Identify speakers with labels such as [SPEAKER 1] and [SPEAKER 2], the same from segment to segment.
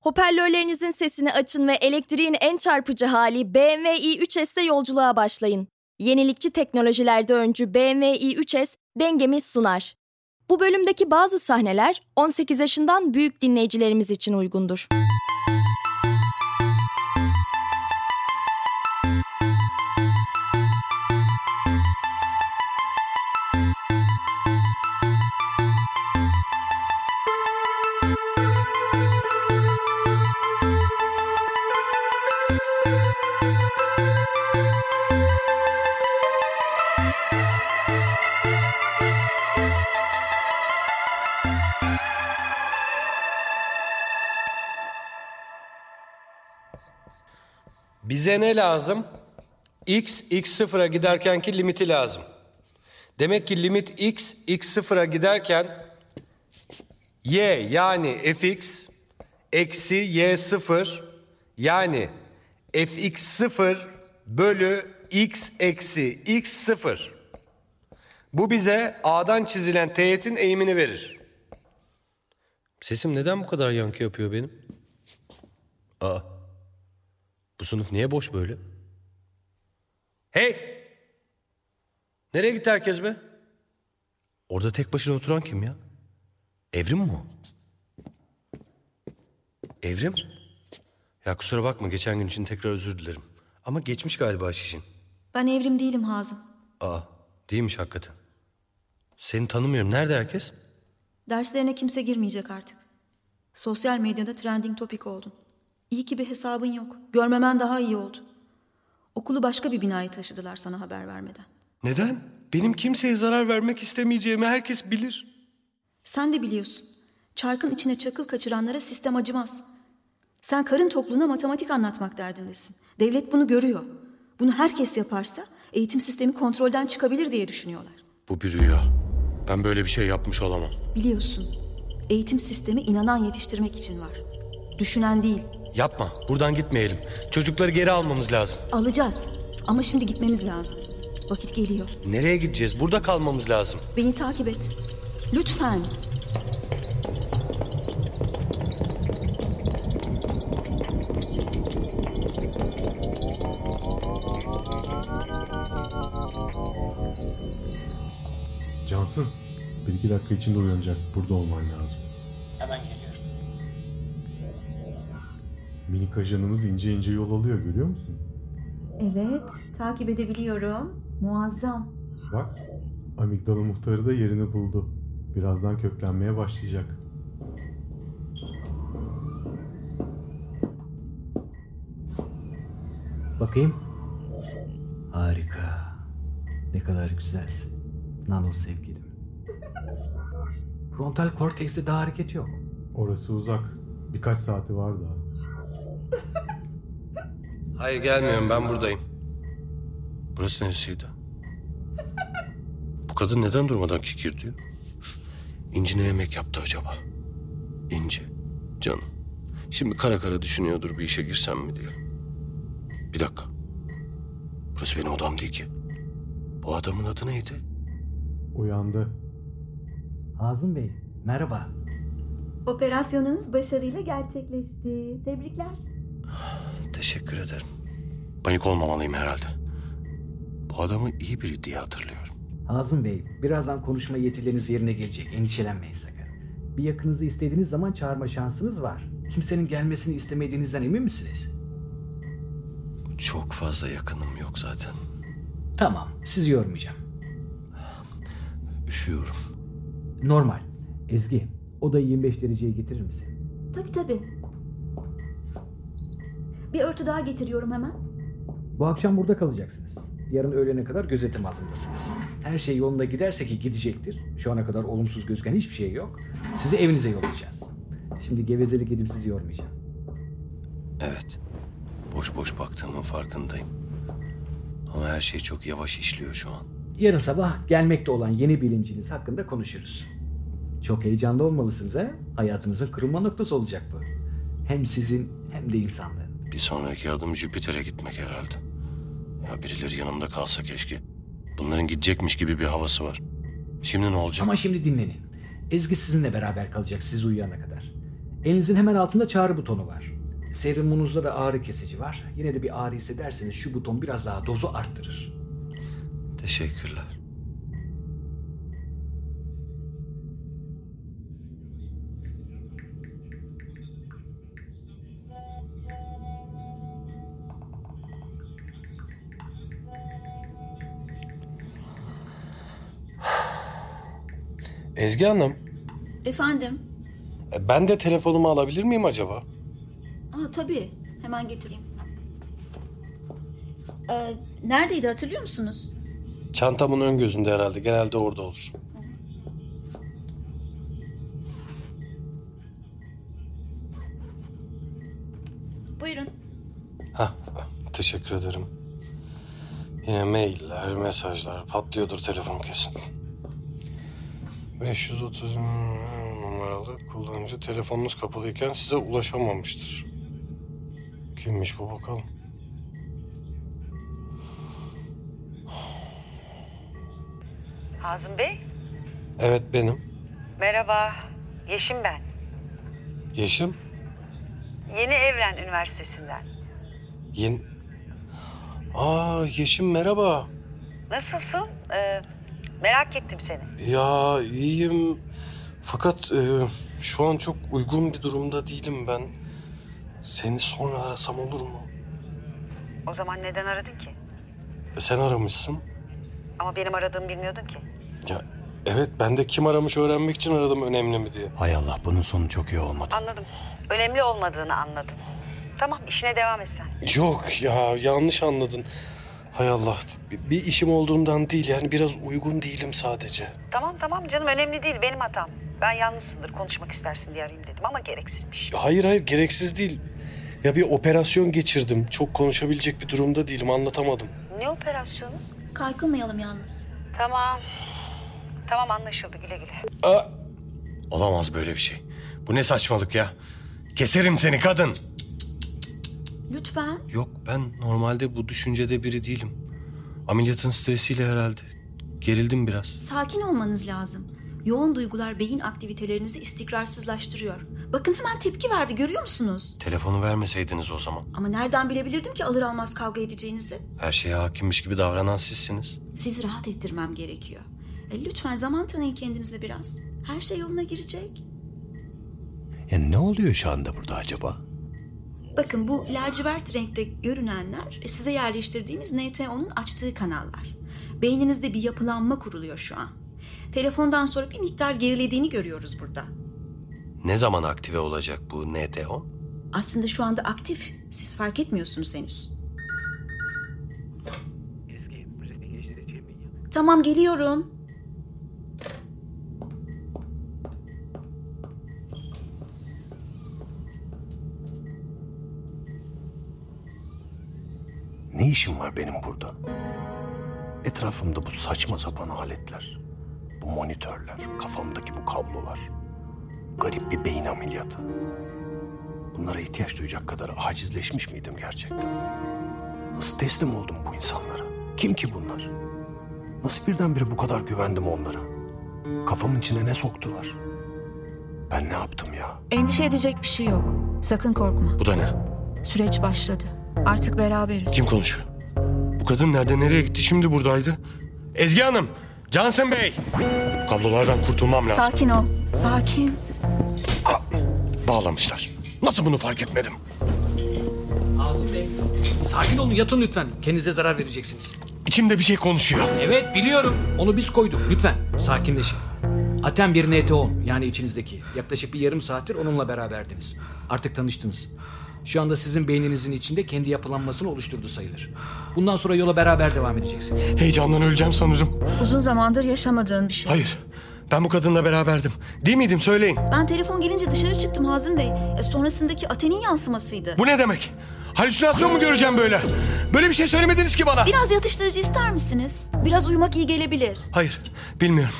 [SPEAKER 1] Hoparlörlerinizin sesini açın ve elektriğin en çarpıcı hali BMW i3S'te yolculuğa başlayın. Yenilikçi teknolojilerde öncü BMW i3S dengemi sunar. Bu bölümdeki bazı sahneler 18 yaşından büyük dinleyicilerimiz için uygundur.
[SPEAKER 2] Bize ne lazım? X, X0'a giderkenki limiti lazım. Demek ki limit X, X0'a giderken Y yani fx eksi Y0 yani fx0 bölü x eksi x0. Bu bize A'dan çizilen teğetin eğimini verir. Sesim neden bu kadar yankı yapıyor benim? Aa. Bu sınıf niye boş böyle? Hey! Nereye gitti herkes be? Orada tek başına oturan kim ya? Evrim mi o? Evrim? Ya kusura bakma geçen gün için tekrar özür dilerim. Ama geçmiş galiba iş için.
[SPEAKER 3] Ben evrim değilim Hazım.
[SPEAKER 2] Aa, değilmiş hakikaten. Seni tanımıyorum. Nerede herkes?
[SPEAKER 3] Derslerine kimse girmeyecek artık. Sosyal medyada trending topik oldun. İyi ki bir hesabın yok. Görmemen daha iyi oldu. Okulu başka bir binaya taşıdılar sana haber vermeden.
[SPEAKER 2] Neden? Benim kimseye zarar vermek istemeyeceğimi herkes bilir.
[SPEAKER 3] Sen de biliyorsun. Çarkın içine çakıl kaçıranlara sistem acımaz. Sen karın tokluğuna matematik anlatmak derdindesin. Devlet bunu görüyor. Bunu herkes yaparsa eğitim sistemi kontrolden çıkabilir diye düşünüyorlar.
[SPEAKER 2] Bu bir rüya. Ben böyle bir şey yapmış olamam.
[SPEAKER 3] Biliyorsun, eğitim sistemi inanan yetiştirmek için var. Düşünen değil,
[SPEAKER 2] Yapma. Buradan gitmeyelim. Çocukları geri almamız lazım.
[SPEAKER 3] Alacağız. Ama şimdi gitmemiz lazım. Vakit geliyor.
[SPEAKER 2] Nereye gideceğiz? Burada kalmamız lazım.
[SPEAKER 3] Beni takip et. Lütfen.
[SPEAKER 4] Cansın, bir iki dakika içinde uyanacak. Burada olman lazım.
[SPEAKER 5] Hemen geliyorum.
[SPEAKER 4] Minik ajanımız ince ince yol alıyor görüyor musun?
[SPEAKER 3] Evet, takip edebiliyorum. Muazzam.
[SPEAKER 4] Bak, amigdala muhtarı da yerini buldu. Birazdan köklenmeye başlayacak.
[SPEAKER 6] Bakayım. Harika. Ne kadar güzelsin. Nano sevgilim. Frontal kortekste daha hareket yok.
[SPEAKER 4] Orası uzak. Birkaç saati var daha.
[SPEAKER 2] Hayır gelmiyorum ben buradayım. Burası neresiydi? Bu kadın neden durmadan kikir diyor? İnci ne yemek yaptı acaba? İnci, canım. Şimdi kara kara düşünüyordur bir işe girsem mi diye. Bir dakika. Burası benim odam değil ki. Bu adamın adı neydi?
[SPEAKER 4] Uyandı.
[SPEAKER 6] Hazım Bey, merhaba.
[SPEAKER 3] Operasyonunuz başarıyla gerçekleşti. Tebrikler.
[SPEAKER 2] Teşekkür ederim. Panik olmamalıyım herhalde. Bu adamı iyi biri diye hatırlıyorum.
[SPEAKER 6] Hazım Bey, birazdan konuşma yetileriniz yerine gelecek. Endişelenmeyin sakın. Bir yakınızı istediğiniz zaman çağırma şansınız var. Kimsenin gelmesini istemediğinizden emin misiniz?
[SPEAKER 2] Çok fazla yakınım yok zaten.
[SPEAKER 6] Tamam, sizi yormayacağım.
[SPEAKER 2] Üşüyorum.
[SPEAKER 6] Normal. Ezgi, odayı 25 dereceye getirir misin?
[SPEAKER 3] Tabii tabii. Bir örtü daha getiriyorum hemen.
[SPEAKER 6] Bu akşam burada kalacaksınız. Yarın öğlene kadar gözetim altındasınız. Her şey yolunda giderse ki gidecektir. Şu ana kadar olumsuz gözüken hiçbir şey yok. Sizi evinize yollayacağız. Şimdi gevezelik edip sizi yormayacağım.
[SPEAKER 2] Evet. Boş boş baktığımın farkındayım. Ama her şey çok yavaş işliyor şu an.
[SPEAKER 6] Yarın sabah gelmekte olan yeni bilinciniz hakkında konuşuruz. Çok heyecanlı olmalısınız ha? Hayatınızın kırılma noktası olacak bu. Hem sizin hem de insanların.
[SPEAKER 2] Bir sonraki adım Jüpiter'e gitmek herhalde. Ya birileri yanımda kalsa keşke. Bunların gidecekmiş gibi bir havası var. Şimdi ne olacak?
[SPEAKER 6] Ama şimdi dinlenin. Ezgi sizinle beraber kalacak siz uyuyana kadar. Elinizin hemen altında çağrı butonu var. Serumunuzda da ağrı kesici var. Yine de bir ağrı hissederseniz şu buton biraz daha dozu arttırır.
[SPEAKER 7] Teşekkürler.
[SPEAKER 8] Ezgi Hanım,
[SPEAKER 3] Efendim?
[SPEAKER 8] e, ben de telefonumu alabilir miyim acaba?
[SPEAKER 3] Aa, tabii. Hemen getireyim. Ee, neredeydi hatırlıyor musunuz?
[SPEAKER 8] Çantamın ön gözünde herhalde, genelde orada olur.
[SPEAKER 3] Buyurun.
[SPEAKER 8] Hah, teşekkür ederim. Yine mailler, mesajlar patlıyordur telefon kesin. 530 numaralı kullanıcı telefonunuz kapalıyken size ulaşamamıştır. Kimmiş bu bakalım.
[SPEAKER 9] Hazım Bey,
[SPEAKER 8] Evet benim.
[SPEAKER 9] merhaba. Yeşim ben.
[SPEAKER 8] Yeşim.
[SPEAKER 9] Yeni Evren Üniversitesi'nden.
[SPEAKER 8] Yeni... Aa Yeşim merhaba.
[SPEAKER 9] Nasılsın? Ee, merak ettim seni.
[SPEAKER 8] Ya iyiyim. Fakat e, şu an çok uygun bir durumda değilim ben. Seni sonra arasam olur mu?
[SPEAKER 9] O zaman neden aradın ki?
[SPEAKER 8] E, sen aramışsın.
[SPEAKER 9] Ama benim aradığımı bilmiyordun ki.
[SPEAKER 8] Ya evet ben de kim aramış öğrenmek için aradım önemli mi diye.
[SPEAKER 7] Hay Allah bunun sonu çok iyi olmadı.
[SPEAKER 9] Anladım. Önemli olmadığını anladın. Tamam, işine devam et sen.
[SPEAKER 8] Yok ya yanlış anladın. Hay Allah bir, bir işim olduğundan değil yani biraz uygun değilim sadece.
[SPEAKER 9] Tamam tamam canım, önemli değil. Benim hatam. Ben yalnızsındır, konuşmak istersin diye arayayım dedim ama gereksizmiş.
[SPEAKER 8] Hayır hayır gereksiz değil. Ya bir operasyon geçirdim. Çok konuşabilecek bir durumda değilim anlatamadım.
[SPEAKER 9] Ne operasyonu?
[SPEAKER 3] Kaykılmayalım yalnız.
[SPEAKER 9] Tamam. Tamam anlaşıldı, güle güle.
[SPEAKER 8] Aa,
[SPEAKER 7] Olamaz böyle bir şey. Bu ne saçmalık ya? Keserim seni kadın.
[SPEAKER 3] Lütfen.
[SPEAKER 7] Yok ben normalde bu düşüncede biri değilim. Ameliyatın stresiyle herhalde. Gerildim biraz.
[SPEAKER 3] Sakin olmanız lazım. Yoğun duygular beyin aktivitelerinizi istikrarsızlaştırıyor. Bakın hemen tepki verdi görüyor musunuz?
[SPEAKER 7] Telefonu vermeseydiniz o zaman.
[SPEAKER 3] Ama nereden bilebilirdim ki alır almaz kavga edeceğinizi?
[SPEAKER 7] Her şeye hakimmiş gibi davranan sizsiniz.
[SPEAKER 3] Sizi rahat ettirmem gerekiyor. E, lütfen zaman tanıyın kendinize biraz. Her şey yoluna girecek.
[SPEAKER 10] Ya ne oluyor şu anda burada acaba?
[SPEAKER 3] Bakın bu lacivert renkte görünenler e, size yerleştirdiğimiz NTO'nun açtığı kanallar. Beyninizde bir yapılanma kuruluyor şu an. Telefondan sonra bir miktar gerilediğini görüyoruz burada.
[SPEAKER 7] Ne zaman aktive olacak bu NTO?
[SPEAKER 3] Aslında şu anda aktif. Siz fark etmiyorsunuz henüz. Tamam geliyorum.
[SPEAKER 10] Ne işim var benim burada? Etrafımda bu saçma sapan aletler, bu monitörler, kafamdaki bu kablolar, garip bir beyin ameliyatı. Bunlara ihtiyaç duyacak kadar acizleşmiş miydim gerçekten? Nasıl teslim oldum bu insanlara? Kim ki bunlar? Nasıl birdenbire bu kadar güvendim onlara? Kafamın içine ne soktular? Ben ne yaptım ya?
[SPEAKER 3] Endişe edecek bir şey yok. Sakın korkma.
[SPEAKER 7] Bu da ne?
[SPEAKER 3] Süreç başladı. Artık beraberiz.
[SPEAKER 7] Kim konuşuyor? Bu kadın nerede nereye gitti şimdi buradaydı? Ezgi Hanım! Cansın Bey! Bu kablolardan kurtulmam lazım.
[SPEAKER 3] Sakin ol. Sakin.
[SPEAKER 7] Bağlamışlar. Nasıl bunu fark etmedim?
[SPEAKER 6] Azim Bey, sakin olun yatın lütfen. Kendinize zarar vereceksiniz.
[SPEAKER 7] İçimde bir şey konuşuyor.
[SPEAKER 6] Evet biliyorum. Onu biz koyduk. Lütfen sakinleşin. Atem bir NT10 yani içinizdeki. Yaklaşık bir yarım saattir onunla beraberdiniz. Artık tanıştınız. Şu anda sizin beyninizin içinde kendi yapılanmasını oluşturdu sayılır. Bundan sonra yola beraber devam edeceksiniz.
[SPEAKER 7] Heyecandan öleceğim sanırım.
[SPEAKER 3] Uzun zamandır yaşamadığın bir şey.
[SPEAKER 7] Hayır. Ben bu kadınla beraberdim. Değil miydim söyleyin.
[SPEAKER 3] Ben telefon gelince dışarı çıktım Hazım Bey. E, sonrasındaki Aten'in yansımasıydı.
[SPEAKER 7] Bu ne demek? Halüsinasyon mu göreceğim böyle? Böyle bir şey söylemediniz ki bana.
[SPEAKER 3] Biraz yatıştırıcı ister misiniz? Biraz uyumak iyi gelebilir.
[SPEAKER 7] Hayır. Bilmiyorum.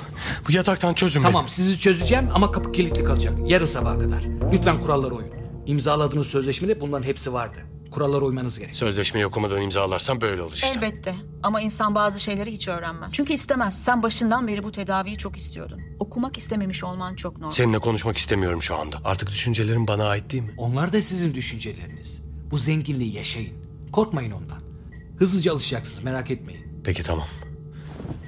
[SPEAKER 7] Bu yataktan çözün beni.
[SPEAKER 6] Tamam sizi çözeceğim ama kapı kilitli kalacak. Yarın sabaha kadar. Lütfen kurallara uyun. İmzaladığınız sözleşmede bunların hepsi vardı. kurallara uymanız gerek.
[SPEAKER 10] Sözleşmeyi okumadan imzalarsan böyle olur işte.
[SPEAKER 3] Elbette ama insan bazı şeyleri hiç öğrenmez. Çünkü istemez. Sen başından beri bu tedaviyi çok istiyordun. Okumak istememiş olman çok normal.
[SPEAKER 10] Seninle konuşmak istemiyorum şu anda. Artık düşüncelerin bana ait değil mi?
[SPEAKER 6] Onlar da sizin düşünceleriniz. Bu zenginliği yaşayın. Korkmayın ondan. Hızlıca alışacaksınız merak etmeyin.
[SPEAKER 10] Peki tamam.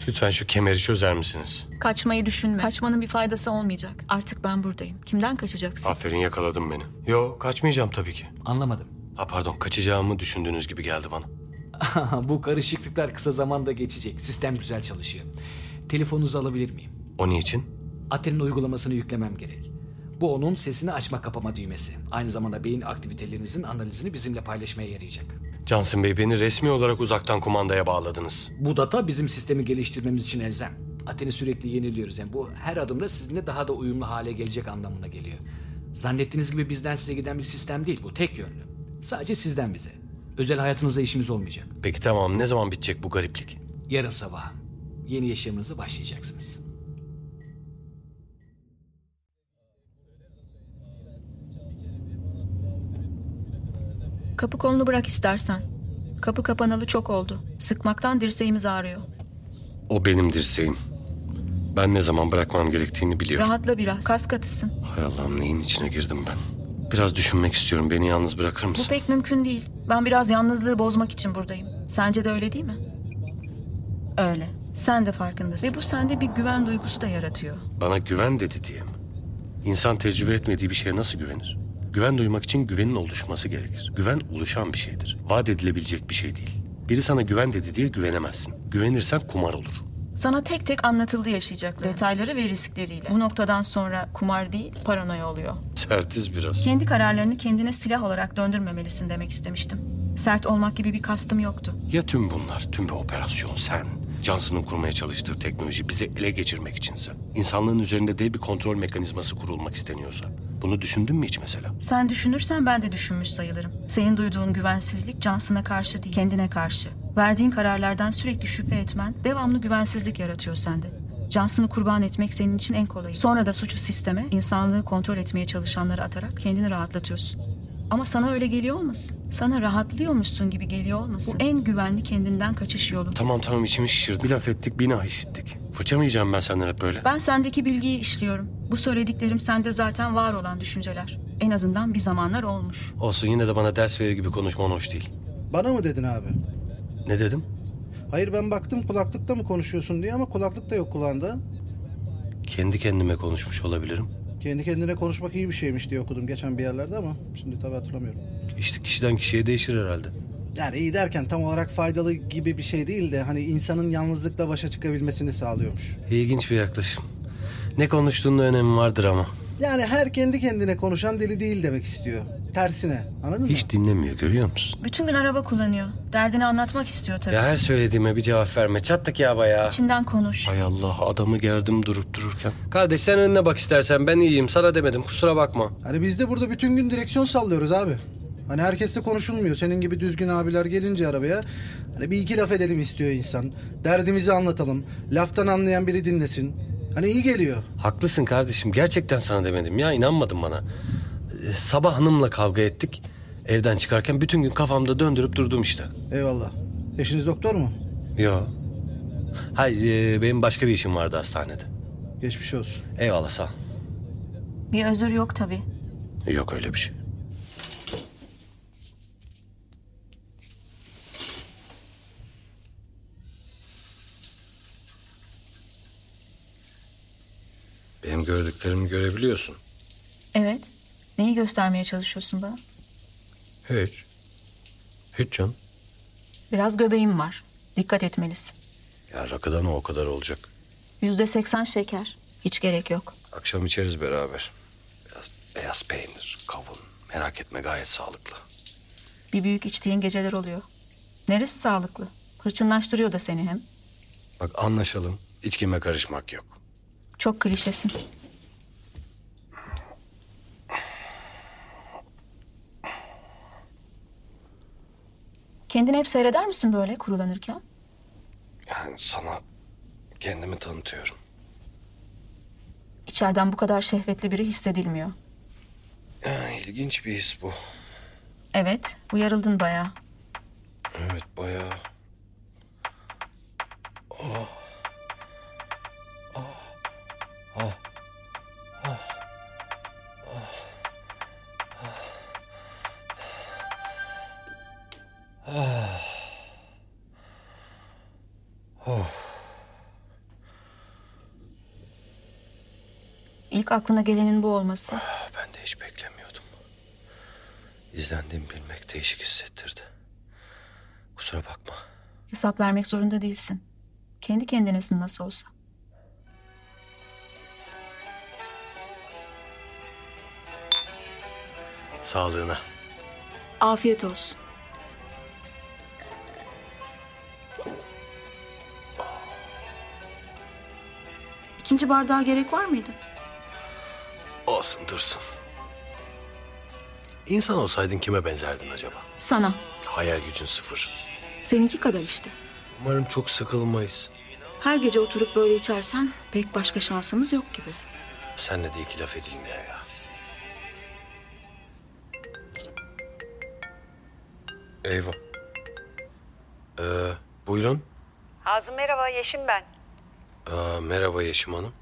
[SPEAKER 10] Lütfen şu kemeri çözer misiniz?
[SPEAKER 3] Kaçmayı düşünme. Kaçmanın bir faydası olmayacak. Artık ben buradayım. Kimden kaçacaksın?
[SPEAKER 10] Aferin yakaladın beni. Yo kaçmayacağım tabii ki.
[SPEAKER 6] Anlamadım.
[SPEAKER 10] Ha pardon kaçacağımı düşündüğünüz gibi geldi bana.
[SPEAKER 6] Bu karışıklıklar kısa zamanda geçecek. Sistem güzel çalışıyor. Telefonunuzu alabilir miyim?
[SPEAKER 10] O niçin?
[SPEAKER 6] Atel'in uygulamasını yüklemem gerek. Bu onun sesini açma kapama düğmesi. Aynı zamanda beyin aktivitelerinizin analizini bizimle paylaşmaya yarayacak.
[SPEAKER 10] Cansın Bey beni resmi olarak uzaktan kumandaya bağladınız.
[SPEAKER 6] Bu data bizim sistemi geliştirmemiz için elzem. Aten'i sürekli yeniliyoruz. Yani bu her adımda sizinle daha da uyumlu hale gelecek anlamına geliyor. Zannettiğiniz gibi bizden size giden bir sistem değil bu. Tek yönlü. Sadece sizden bize. Özel hayatınızda işimiz olmayacak.
[SPEAKER 10] Peki tamam ne zaman bitecek bu gariplik?
[SPEAKER 6] Yarın sabah yeni yaşamınıza başlayacaksınız.
[SPEAKER 3] Kapı kolunu bırak istersen. Kapı kapanalı çok oldu. Sıkmaktan dirseğimiz ağrıyor.
[SPEAKER 10] O benim dirseğim. Ben ne zaman bırakmam gerektiğini biliyorum.
[SPEAKER 3] Rahatla biraz. Kas katısın.
[SPEAKER 10] Hay Allah'ım neyin içine girdim ben? Biraz düşünmek istiyorum. Beni yalnız bırakır
[SPEAKER 3] Bu
[SPEAKER 10] mısın?
[SPEAKER 3] pek mümkün değil. Ben biraz yalnızlığı bozmak için buradayım. Sence de öyle değil mi? Öyle. Sen de farkındasın. Ve bu sende bir güven duygusu da yaratıyor.
[SPEAKER 10] Bana güven dedi diye mi? İnsan tecrübe etmediği bir şeye nasıl güvenir? Güven duymak için güvenin oluşması gerekir. Güven oluşan bir şeydir. Vaat edilebilecek bir şey değil. Biri sana güven dedi diye güvenemezsin. Güvenirsen kumar olur.
[SPEAKER 3] Sana tek tek anlatıldı yaşayacakları, detayları ve riskleriyle. Bu noktadan sonra kumar değil, paranoya oluyor.
[SPEAKER 10] Sertiz biraz.
[SPEAKER 3] Kendi kararlarını kendine silah olarak döndürmemelisin demek istemiştim. Sert olmak gibi bir kastım yoktu.
[SPEAKER 10] Ya tüm bunlar, tüm bir operasyon sen? Johnson'ın kurmaya çalıştığı teknoloji bizi ele geçirmek içinse? İnsanlığın üzerinde dev bir kontrol mekanizması kurulmak isteniyorsa? Bunu düşündün mü hiç mesela?
[SPEAKER 3] Sen düşünürsen ben de düşünmüş sayılırım. Senin duyduğun güvensizlik Johnson'a karşı değil, kendine karşı. Verdiğin kararlardan sürekli şüphe etmen devamlı güvensizlik yaratıyor sende. Johnson'ı kurban etmek senin için en kolayı. Sonra da suçu sisteme, insanlığı kontrol etmeye çalışanları atarak kendini rahatlatıyorsun. Ama sana öyle geliyor olmasın. Sana rahatlıyormuşsun gibi geliyor olmasın. Bu en güvenli kendinden kaçış yolu.
[SPEAKER 10] Tamam tamam içimi şişirdi. Bir laf ettik, bir nah işittik. Fırçamayacağım ben senden hep böyle.
[SPEAKER 3] Ben sendeki bilgiyi işliyorum. Bu söylediklerim sende zaten var olan düşünceler. En azından bir zamanlar olmuş.
[SPEAKER 10] Olsun yine de bana ders verir gibi konuşman hoş değil.
[SPEAKER 11] Bana mı dedin abi?
[SPEAKER 10] Ne dedim?
[SPEAKER 11] Hayır ben baktım kulaklıkta mı konuşuyorsun diye ama kulaklık da yok kulağında.
[SPEAKER 10] Kendi kendime konuşmuş olabilirim.
[SPEAKER 11] Kendi kendine konuşmak iyi bir şeymiş diye okudum geçen bir yerlerde ama şimdi tabii hatırlamıyorum.
[SPEAKER 10] İşte kişiden kişiye değişir herhalde.
[SPEAKER 11] Yani iyi derken tam olarak faydalı gibi bir şey değil de hani insanın yalnızlıkla başa çıkabilmesini sağlıyormuş.
[SPEAKER 10] İlginç bir yaklaşım. Ne konuştuğunun önemi vardır ama.
[SPEAKER 11] Yani her kendi kendine konuşan deli değil demek istiyor. Tersine anladın mı?
[SPEAKER 10] Hiç dinlemiyor görüyor musun?
[SPEAKER 3] Bütün gün araba kullanıyor. Derdini anlatmak istiyor tabii.
[SPEAKER 10] Ya her söylediğime bir cevap verme. Çattık ya bayağı.
[SPEAKER 3] İçinden konuş.
[SPEAKER 10] Hay Allah adamı gerdim durup dururken. Kardeş sen önüne bak istersen ben iyiyim sana demedim kusura bakma.
[SPEAKER 11] Hani biz de burada bütün gün direksiyon sallıyoruz abi. Hani herkesle konuşulmuyor. Senin gibi düzgün abiler gelince arabaya hani bir iki laf edelim istiyor insan. Derdimizi anlatalım. Laftan anlayan biri dinlesin. Hani iyi geliyor.
[SPEAKER 10] Haklısın kardeşim gerçekten sana demedim ya inanmadın bana. Ee, Sabah hanımla kavga ettik. Evden çıkarken bütün gün kafamda döndürüp durdum işte.
[SPEAKER 11] Eyvallah. Eşiniz doktor mu?
[SPEAKER 10] Yo. Hay e, benim başka bir işim vardı hastanede.
[SPEAKER 11] Geçmiş olsun.
[SPEAKER 10] Eyvallah sağ ol.
[SPEAKER 3] Bir özür yok tabii.
[SPEAKER 10] Yok öyle bir şey. Benim gördüklerimi görebiliyorsun.
[SPEAKER 3] Evet. Neyi göstermeye çalışıyorsun bana?
[SPEAKER 10] Hiç. Hiç canım.
[SPEAKER 3] Biraz göbeğim var. Dikkat etmelisin.
[SPEAKER 10] Ya rakıdan o kadar olacak.
[SPEAKER 3] Yüzde seksen şeker. Hiç gerek yok.
[SPEAKER 10] Akşam içeriz beraber. Biraz beyaz peynir, kavun. Merak etme gayet sağlıklı.
[SPEAKER 3] Bir büyük içtiğin geceler oluyor. Neresi sağlıklı? Hırçınlaştırıyor da seni hem.
[SPEAKER 10] Bak anlaşalım. İçkime karışmak yok.
[SPEAKER 3] Çok klişesin. Kendini hep seyreder misin böyle kurulanırken?
[SPEAKER 10] Yani sana kendimi tanıtıyorum.
[SPEAKER 3] İçeriden bu kadar şehvetli biri hissedilmiyor.
[SPEAKER 10] Yani ilginç bir his bu.
[SPEAKER 3] Evet, uyarıldın bayağı.
[SPEAKER 10] Evet bayağı. Ah. Ah. Ah. Ah. Ah. Ah. Ah. Of.
[SPEAKER 3] İlk aklına gelenin bu olması.
[SPEAKER 10] Ah, Ben de hiç beklemiyordum. İzlendiğimi bilmek değişik hissettirdi. Kusura bakma.
[SPEAKER 3] Hesap vermek zorunda değilsin. Kendi kendinesin nasıl olsa.
[SPEAKER 10] Sağlığına.
[SPEAKER 3] Afiyet olsun. İkinci bardağa gerek var mıydı?
[SPEAKER 12] Olsun dursun. İnsan olsaydın kime benzerdin acaba?
[SPEAKER 3] Sana.
[SPEAKER 12] Hayal gücün sıfır.
[SPEAKER 3] Seninki kadar işte.
[SPEAKER 10] Umarım çok sıkılmayız.
[SPEAKER 3] Her gece oturup böyle içersen pek başka şansımız yok gibi.
[SPEAKER 10] Senle de iki laf edeyim ya. ya. Eyvah. Ee, buyurun.
[SPEAKER 9] Hazım merhaba Yeşim ben.
[SPEAKER 10] Aa, merhaba Yeşim Hanım.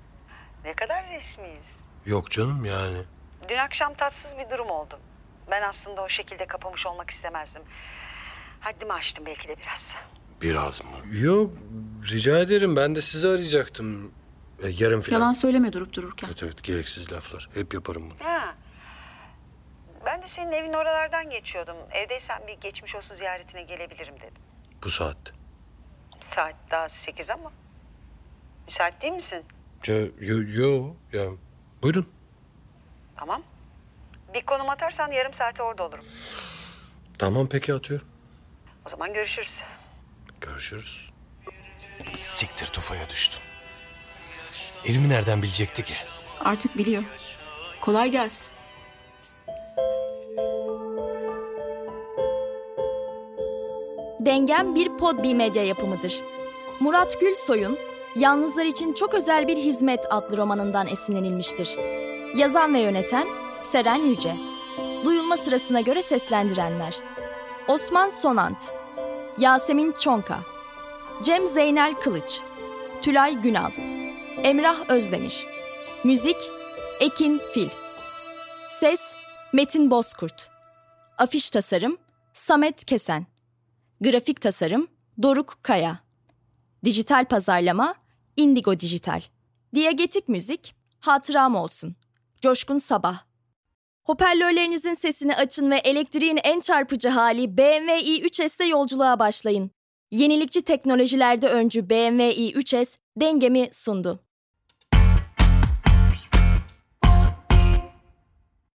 [SPEAKER 9] Ne kadar resmiyiz.
[SPEAKER 10] Yok canım yani.
[SPEAKER 9] Dün akşam tatsız bir durum oldu. Ben aslında o şekilde kapamış olmak istemezdim. Haddimi aştım belki de biraz.
[SPEAKER 13] Biraz mı?
[SPEAKER 10] Yok rica ederim ben de sizi arayacaktım. Ee, yarın filan.
[SPEAKER 3] Yalan söyleme durup dururken.
[SPEAKER 10] Evet evet gereksiz laflar. Hep yaparım bunu.
[SPEAKER 9] Ha. Ben de senin evin oralardan geçiyordum. Evdeysen bir geçmiş olsun ziyaretine gelebilirim dedim.
[SPEAKER 10] Bu saatte.
[SPEAKER 9] Saat daha sekiz ama. Müsait değil misin?
[SPEAKER 10] Yo, yo, yo. Ya, buyurun.
[SPEAKER 9] Tamam. Bir konum atarsan yarım saate orada olurum.
[SPEAKER 10] Tamam peki atıyorum.
[SPEAKER 9] O zaman görüşürüz.
[SPEAKER 10] Görüşürüz.
[SPEAKER 12] Siktir tufaya düştüm. Elimi nereden bilecekti ki?
[SPEAKER 3] Artık biliyor. Kolay gelsin.
[SPEAKER 1] Dengem bir podbi medya yapımıdır. Murat Gülsoy'un Yalnızlar için Çok Özel Bir Hizmet adlı romanından esinlenilmiştir. Yazan ve yöneten Seren Yüce. Duyulma sırasına göre seslendirenler. Osman Sonant, Yasemin Çonka, Cem Zeynel Kılıç, Tülay Günal, Emrah Özdemir. Müzik Ekin Fil. Ses Metin Bozkurt. Afiş tasarım Samet Kesen. Grafik tasarım Doruk Kaya. Dijital pazarlama Indigo Dijital. Diyagetik müzik Hatıram Olsun. Coşkun Sabah. Hoparlörlerinizin sesini açın ve elektriğin en çarpıcı hali BMW i3S'te yolculuğa başlayın. Yenilikçi teknolojilerde öncü BMW i3S dengemi sundu.